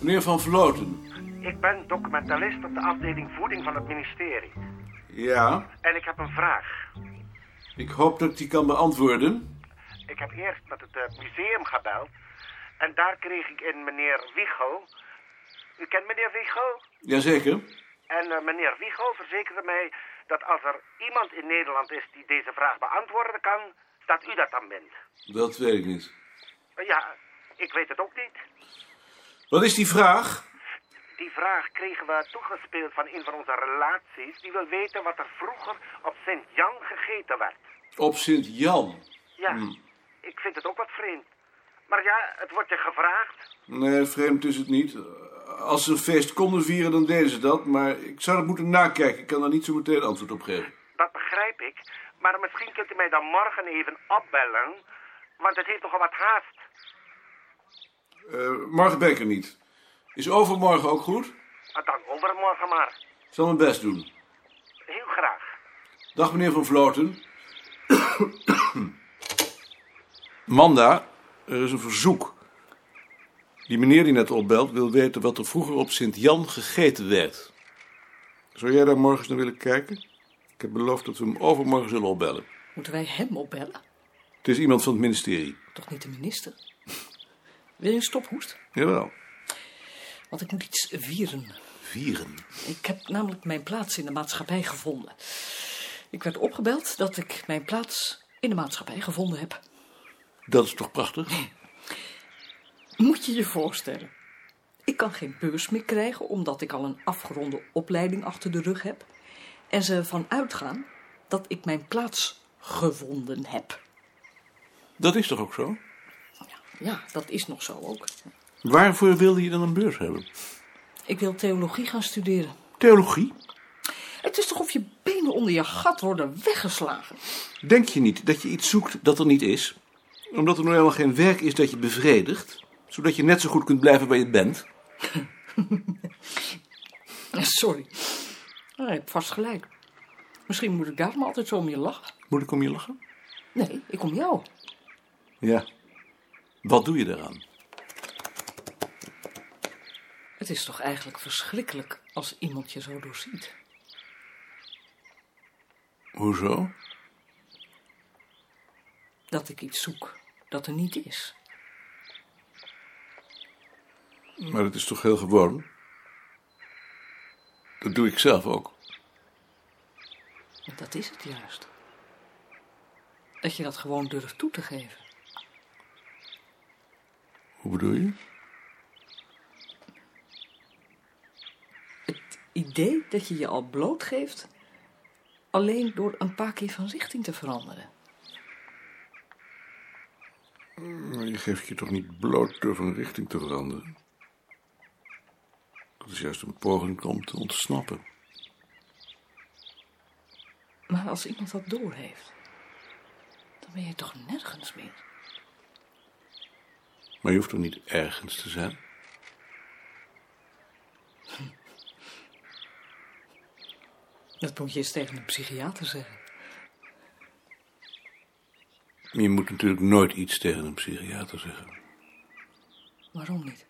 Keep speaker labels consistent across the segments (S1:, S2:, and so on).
S1: Meneer Van Vloten.
S2: Ik ben documentalist op de afdeling voeding van het ministerie.
S1: Ja?
S2: En ik heb een vraag.
S1: Ik hoop dat ik die kan beantwoorden.
S2: Ik heb eerst met het eh, museum gebeld. En daar kreeg ik in meneer Wiegel. U kent meneer Wiegel?
S1: Jazeker.
S2: En eh, meneer Wiegel verzekerde mij dat als er iemand in Nederland is die deze vraag beantwoorden kan, dat u dat dan bent.
S1: Dat weet ik niet.
S2: Eh, ja, ik weet het ook niet.
S1: Wat is die vraag?
S2: Die vraag kregen we toegespeeld van een van onze relaties. Die wil weten wat er vroeger op Sint-Jan gegeten werd.
S1: Op Sint-Jan.
S2: Ja, ik vind het ook wat vreemd. Maar ja, het wordt je gevraagd.
S1: Nee, vreemd is het niet. Als ze een feest konden vieren, dan deden ze dat. Maar ik zou dat moeten nakijken. Ik kan daar niet zo meteen antwoord op geven.
S2: Dat begrijp ik. Maar misschien kunt u mij dan morgen even opbellen. Want het heeft nogal wat haast.
S1: Eh, morgen ben ik er niet. Is overmorgen ook goed?
S2: Maar Dan overmorgen maar.
S1: Ik zal mijn best doen.
S2: Heel graag.
S1: Dag meneer Van Vloten. Manda, er is een verzoek. Die meneer die net opbelt wil weten wat er vroeger op Sint-Jan gegeten werd. Zou jij daar morgen eens naar willen kijken? Ik heb beloofd dat we hem overmorgen zullen opbellen.
S3: Moeten wij hem opbellen?
S1: Het is iemand van het ministerie.
S3: Toch niet de minister? Wil je een stophoest?
S1: Jawel.
S3: Want ik moet iets vieren.
S1: Vieren.
S3: Ik heb namelijk mijn plaats in de maatschappij gevonden. Ik werd opgebeld dat ik mijn plaats in de maatschappij gevonden heb.
S1: Dat is toch prachtig?
S3: Moet je je voorstellen. Ik kan geen beurs meer krijgen omdat ik al een afgeronde opleiding achter de rug heb. En ze ervan uitgaan dat ik mijn plaats gevonden heb.
S1: Dat is toch ook zo?
S3: Ja, dat is nog zo ook.
S1: Waarvoor wilde je dan een beurs hebben?
S3: Ik wil theologie gaan studeren.
S1: Theologie?
S3: Het is toch of je benen onder je gat worden weggeslagen?
S1: Denk je niet dat je iets zoekt dat er niet is? Omdat er nou helemaal geen werk is dat je bevredigt, zodat je net zo goed kunt blijven waar je bent?
S3: Sorry. Ah, je hebt vast gelijk. Misschien moet ik daarom altijd zo om je lachen.
S1: Moet ik om je lachen?
S3: Nee, ik om jou.
S1: Ja. Wat doe je daaraan?
S3: Het is toch eigenlijk verschrikkelijk als iemand je zo doorziet.
S1: Hoezo?
S3: Dat ik iets zoek dat er niet is.
S1: Maar dat is toch heel gewoon? Dat doe ik zelf ook.
S3: En dat is het juist. Dat je dat gewoon durft toe te geven.
S1: Hoe bedoel je?
S3: Het idee dat je je al blootgeeft... alleen door een paar keer van richting te veranderen.
S1: Maar Nou, je geeft je toch niet bloot door van richting te veranderen? Dat is juist een poging om te ontsnappen.
S3: Maar als iemand dat doorheeft... dan ben je toch nergens meer.
S1: Maar je hoeft toch niet ergens te zijn?
S3: Dat moet je eens tegen een psychiater zeggen.
S1: Je moet natuurlijk nooit iets tegen een psychiater zeggen.
S3: Waarom niet?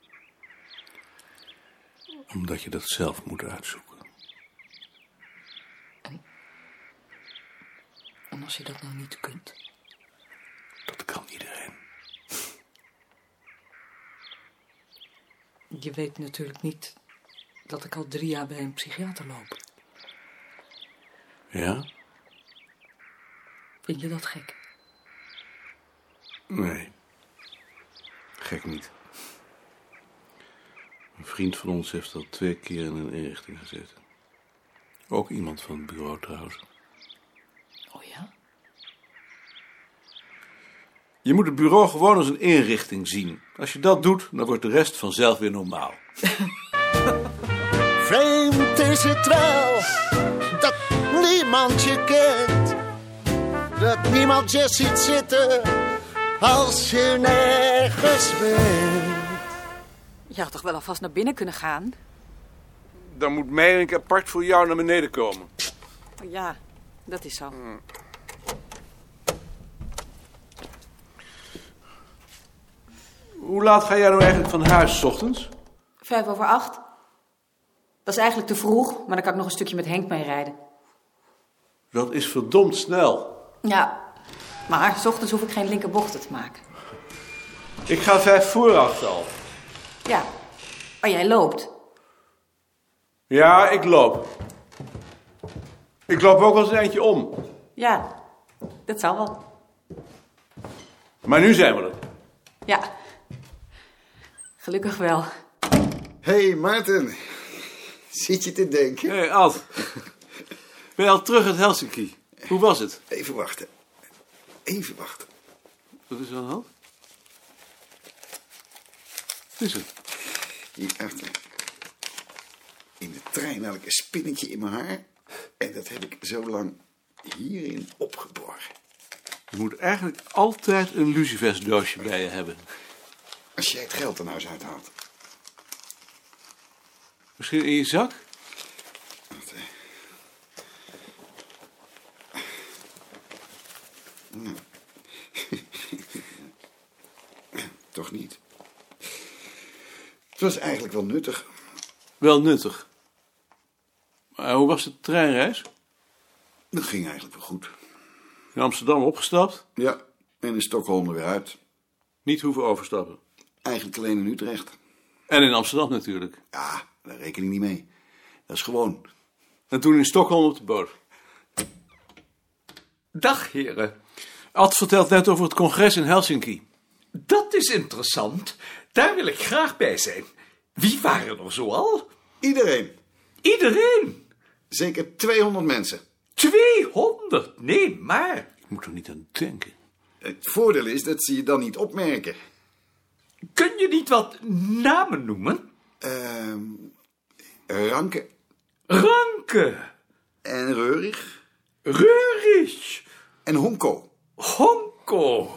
S1: Omdat je dat zelf moet uitzoeken.
S3: En als je dat nou niet kunt?
S1: Dat kan iedereen.
S3: Je weet natuurlijk niet dat ik al drie jaar bij een psychiater loop.
S1: Ja?
S3: Vind je dat gek?
S1: Nee. Gek niet. Een vriend van ons heeft al twee keer in een inrichting gezeten. Ook iemand van het bureau trouwens.
S3: Oh ja?
S1: Je moet het bureau gewoon als een inrichting zien. Als je dat doet, dan wordt de rest vanzelf weer normaal.
S4: Vreemd is het wel dat niemand je kent. Dat niemand je ziet zitten als je nergens bent.
S5: Je had toch wel alvast naar binnen kunnen gaan?
S1: Dan moet Meijerink apart voor jou naar beneden komen.
S5: Ja, dat is zo.
S1: Hoe laat ga jij nou eigenlijk van huis, 's ochtends?
S5: Vijf over acht. Dat is eigenlijk te vroeg, maar dan kan ik nog een stukje met Henk mee rijden.
S1: Dat is verdomd snel.
S5: Ja, maar s ochtends hoef ik geen linkerbochten te maken.
S1: Ik ga vijf voor acht al.
S5: Ja, maar jij loopt.
S1: Ja, ik loop. Ik loop ook wel eens een eindje om.
S5: Ja, dat zal wel.
S1: Maar nu zijn we er.
S5: Ja, gelukkig wel.
S4: Hé, hey, Maarten. Zit je te denken?
S1: Hé, Ad. Ben je al terug uit Helsinki? Hoe was het?
S4: Even wachten. Even wachten.
S1: Wat is er aan de hand? Wat is het?
S4: Hierachter. In de trein had ik een spinnetje in mijn haar. En dat heb ik zo lang hierin opgeborgen.
S1: Je moet eigenlijk altijd een lucifersdoosje bij je hebben.
S4: Als jij het geld er nou eens uithaalt.
S1: Misschien in je zak?
S4: Wacht, hè. Nou. Toch niet. Het was eigenlijk wel nuttig.
S1: Wel nuttig. Maar eh, hoe was de treinreis?
S4: Dat ging eigenlijk wel goed.
S1: In Amsterdam opgestapt?
S4: Ja, en in Stockholm er weer uit.
S1: Niet hoeven overstappen.
S4: Eigenlijk alleen in Utrecht.
S1: En in Amsterdam natuurlijk.
S4: Ja, daar reken ik niet mee. Dat is gewoon.
S1: En toen in Stockholm op de boot.
S6: Dag heren,
S1: Ad vertelt net over het congres in Helsinki.
S6: dat is interessant. Daar wil ik graag bij zijn. Wie waren er zoal?
S4: Iedereen.
S6: Iedereen.
S4: Zeker 200 mensen.
S6: 200, nee maar.
S1: Ik moet er niet aan denken.
S4: Het voordeel is dat ze je dan niet opmerken.
S6: Kun je niet wat namen noemen?
S4: Ehm Ranke
S6: Ranke,
S4: en Reurig
S6: Reurich,
S4: en Honko.
S6: Honko.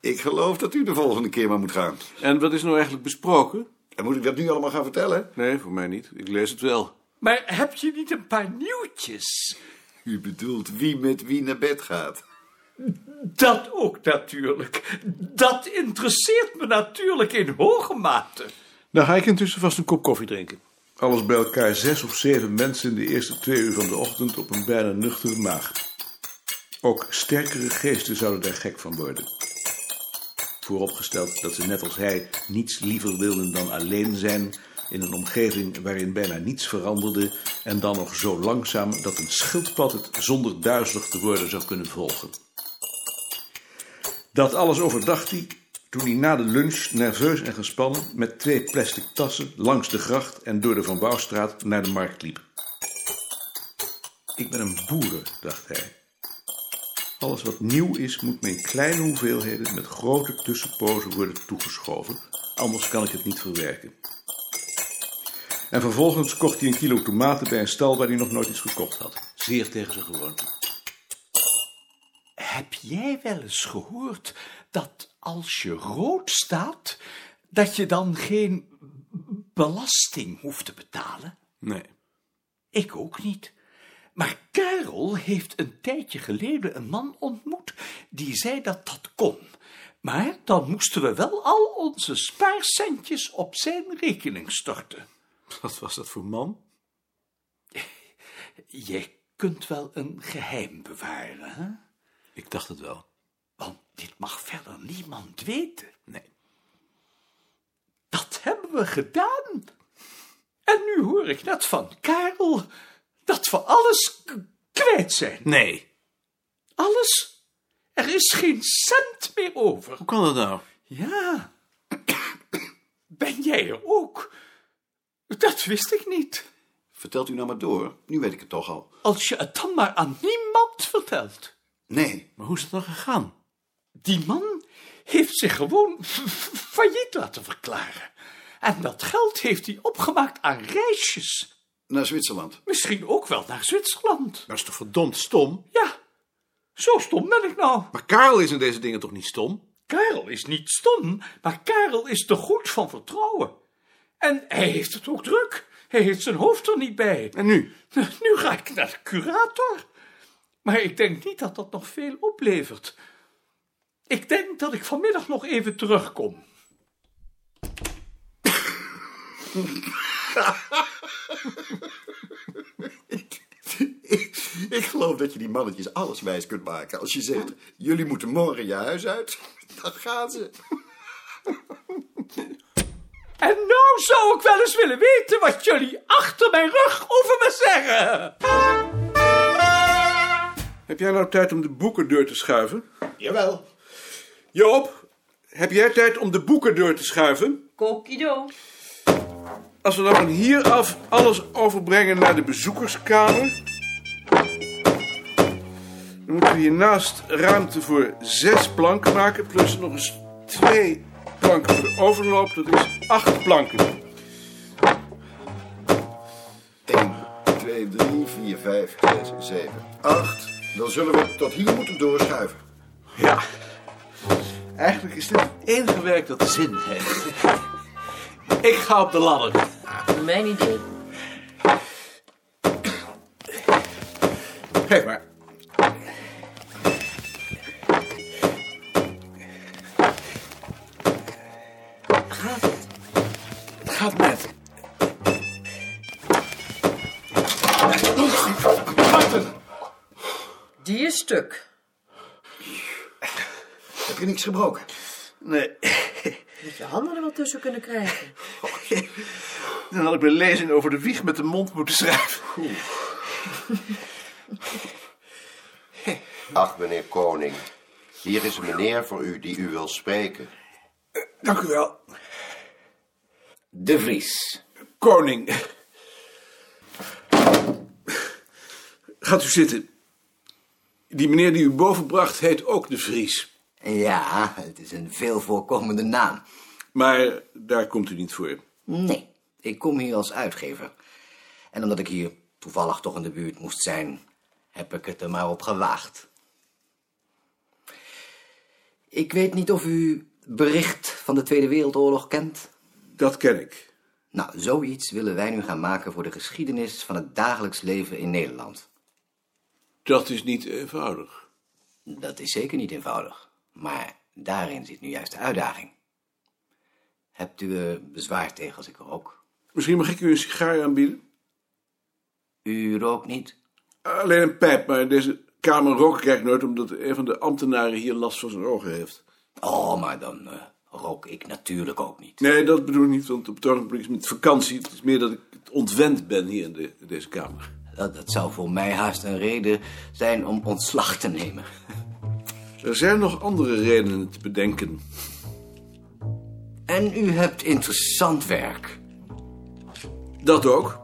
S4: Ik geloof dat u de volgende keer maar moet gaan.
S1: En wat is nou eigenlijk besproken?
S4: En moet ik dat nu allemaal gaan vertellen?
S1: Nee, voor mij niet. Ik lees het wel.
S6: Maar heb je niet een paar nieuwtjes?
S4: U bedoelt wie met wie naar bed gaat.
S6: Dat ook natuurlijk. Dat interesseert me natuurlijk in hoge mate.
S1: Dan ga ik intussen vast een kop koffie drinken. Alles bij elkaar zes of zeven mensen in de eerste twee uur van de ochtend op een bijna nuchtere maag. Ook sterkere geesten zouden daar gek van worden. Vooropgesteld dat ze net als hij niets liever wilden dan alleen zijn in een omgeving waarin bijna niets veranderde en dan nog zo langzaam dat een schildpad het zonder duizelig te worden zou kunnen volgen. Dat alles overdacht hij toen hij na de lunch, nerveus en gespannen, met twee plastic tassen langs de gracht en door de Van Bouwstraat naar de markt liep. Ik ben een boer, dacht hij. Alles wat nieuw is, moet me in kleine hoeveelheden met grote tussenpozen worden toegeschoven, anders kan ik het niet verwerken. En vervolgens kocht hij een kilo tomaten bij een stal waar hij nog nooit iets gekocht had. Zeer tegen zijn gewoonte.
S6: Heb jij wel eens gehoord dat als je rood staat, dat je dan geen belasting hoeft te betalen?
S1: Nee.
S6: Ik ook niet. Maar Karel heeft een tijdje geleden een man ontmoet die zei dat dat kon. Maar dan moesten we wel al onze spaarcentjes op zijn rekening storten.
S1: Wat was dat voor man?
S6: Jij kunt wel een geheim bewaren, hè?
S1: Ik dacht het wel.
S6: Want dit mag verder niemand weten.
S1: Nee.
S6: Dat hebben we gedaan. En nu hoor ik net van Karel dat we alles k- kwijt zijn.
S1: Nee.
S6: Alles? Er is geen cent meer over.
S1: Hoe kan dat nou?
S6: Ja. Ben jij er ook? Dat wist ik niet.
S4: Vertelt u nou maar door. Nu weet ik het toch al.
S6: Als je het dan maar aan niemand vertelt.
S4: Nee,
S1: Maar hoe is het dan gegaan?
S6: Die man heeft zich gewoon f- f- failliet laten verklaren. En dat geld heeft hij opgemaakt aan reisjes.
S4: naar Zwitserland.
S6: Misschien ook wel naar Zwitserland.
S1: Dat is toch verdomd stom?
S6: Ja, zo stom ben ik nou.
S1: Maar Karel is in deze dingen toch niet stom?
S6: Karel is niet stom, maar Karel is te goed van vertrouwen. En hij heeft het ook druk. Hij heeft zijn hoofd er niet bij.
S1: En nu?
S6: Nu ga ik naar de curator. Maar ik denk niet dat dat nog veel oplevert. Ik denk dat ik vanmiddag nog even terugkom.
S7: Ik, ik geloof dat je die mannetjes alles wijs kunt maken. Als je zegt, jullie moeten morgen je huis uit, dan gaan ze.
S6: En nou zou ik wel eens willen weten wat jullie achter mijn rug over me zeggen.
S1: Heb jij nou tijd om de boekendeur te schuiven?
S7: Jawel.
S1: Joop, heb jij tijd om de boekendeur te schuiven?
S5: Kokido.
S1: Als we dan van hieraf alles overbrengen naar de bezoekerskamer. Dan moeten we hiernaast ruimte voor zes planken maken. Plus nog eens twee planken voor de overloop. Dat is acht planken.
S7: 1, 2, 3, 4, 5, 6, 7, 8. Dan zullen we tot hier moeten doorschuiven.
S1: Ja. Eigenlijk is dit het enige werk dat zin heeft.
S6: Ik ga op de ladder.
S8: Mijn idee.
S1: Geef maar. Het gaat net.
S8: Die is stuk.
S7: Heb je niks gebroken?
S1: Nee,
S8: Moet je handen er wel tussen kunnen krijgen.
S1: dan had ik mijn lezing over de wieg met de mond moeten schrijven.
S9: Ach, meneer Koning. Hier is een meneer voor u die u wil spreken.
S1: Dank u wel,
S10: De Vries.
S1: koning. Gaat u zitten. Die meneer die u bovenbracht heet ook de Vries.
S10: Ja, het is een veel voorkomende naam.
S1: Maar daar komt u niet voor.
S10: Nee, ik kom hier als uitgever. En omdat ik hier toevallig toch in de buurt moest zijn, heb ik het er maar op gewaagd. Ik weet niet of u bericht van de Tweede Wereldoorlog kent.
S1: Dat ken ik.
S10: Nou, zoiets willen wij nu gaan maken voor de geschiedenis van het dagelijks leven in Nederland.
S1: Dat is niet eenvoudig.
S10: Dat is zeker niet eenvoudig, maar daarin zit nu juist de uitdaging. Hebt u er bezwaar tegen als ik rook?
S1: Misschien mag ik u een sigaar aanbieden?
S10: U rookt niet?
S1: Alleen een pijp, maar in deze kamer rook ik eigenlijk nooit... omdat een van de ambtenaren hier last van zijn ogen heeft.
S10: Oh, maar dan eh, rook ik natuurlijk ook niet.
S1: Nee, dat bedoel ik niet, want op het ogenblik is het met vakantie. Het is meer dat ik het ontwend ben hier in, de- in deze kamer.
S10: Dat, dat zou voor mij haast een reden zijn om ontslag te nemen.
S1: Er zijn nog andere redenen te bedenken.
S10: En u hebt interessant werk.
S1: Dat ook.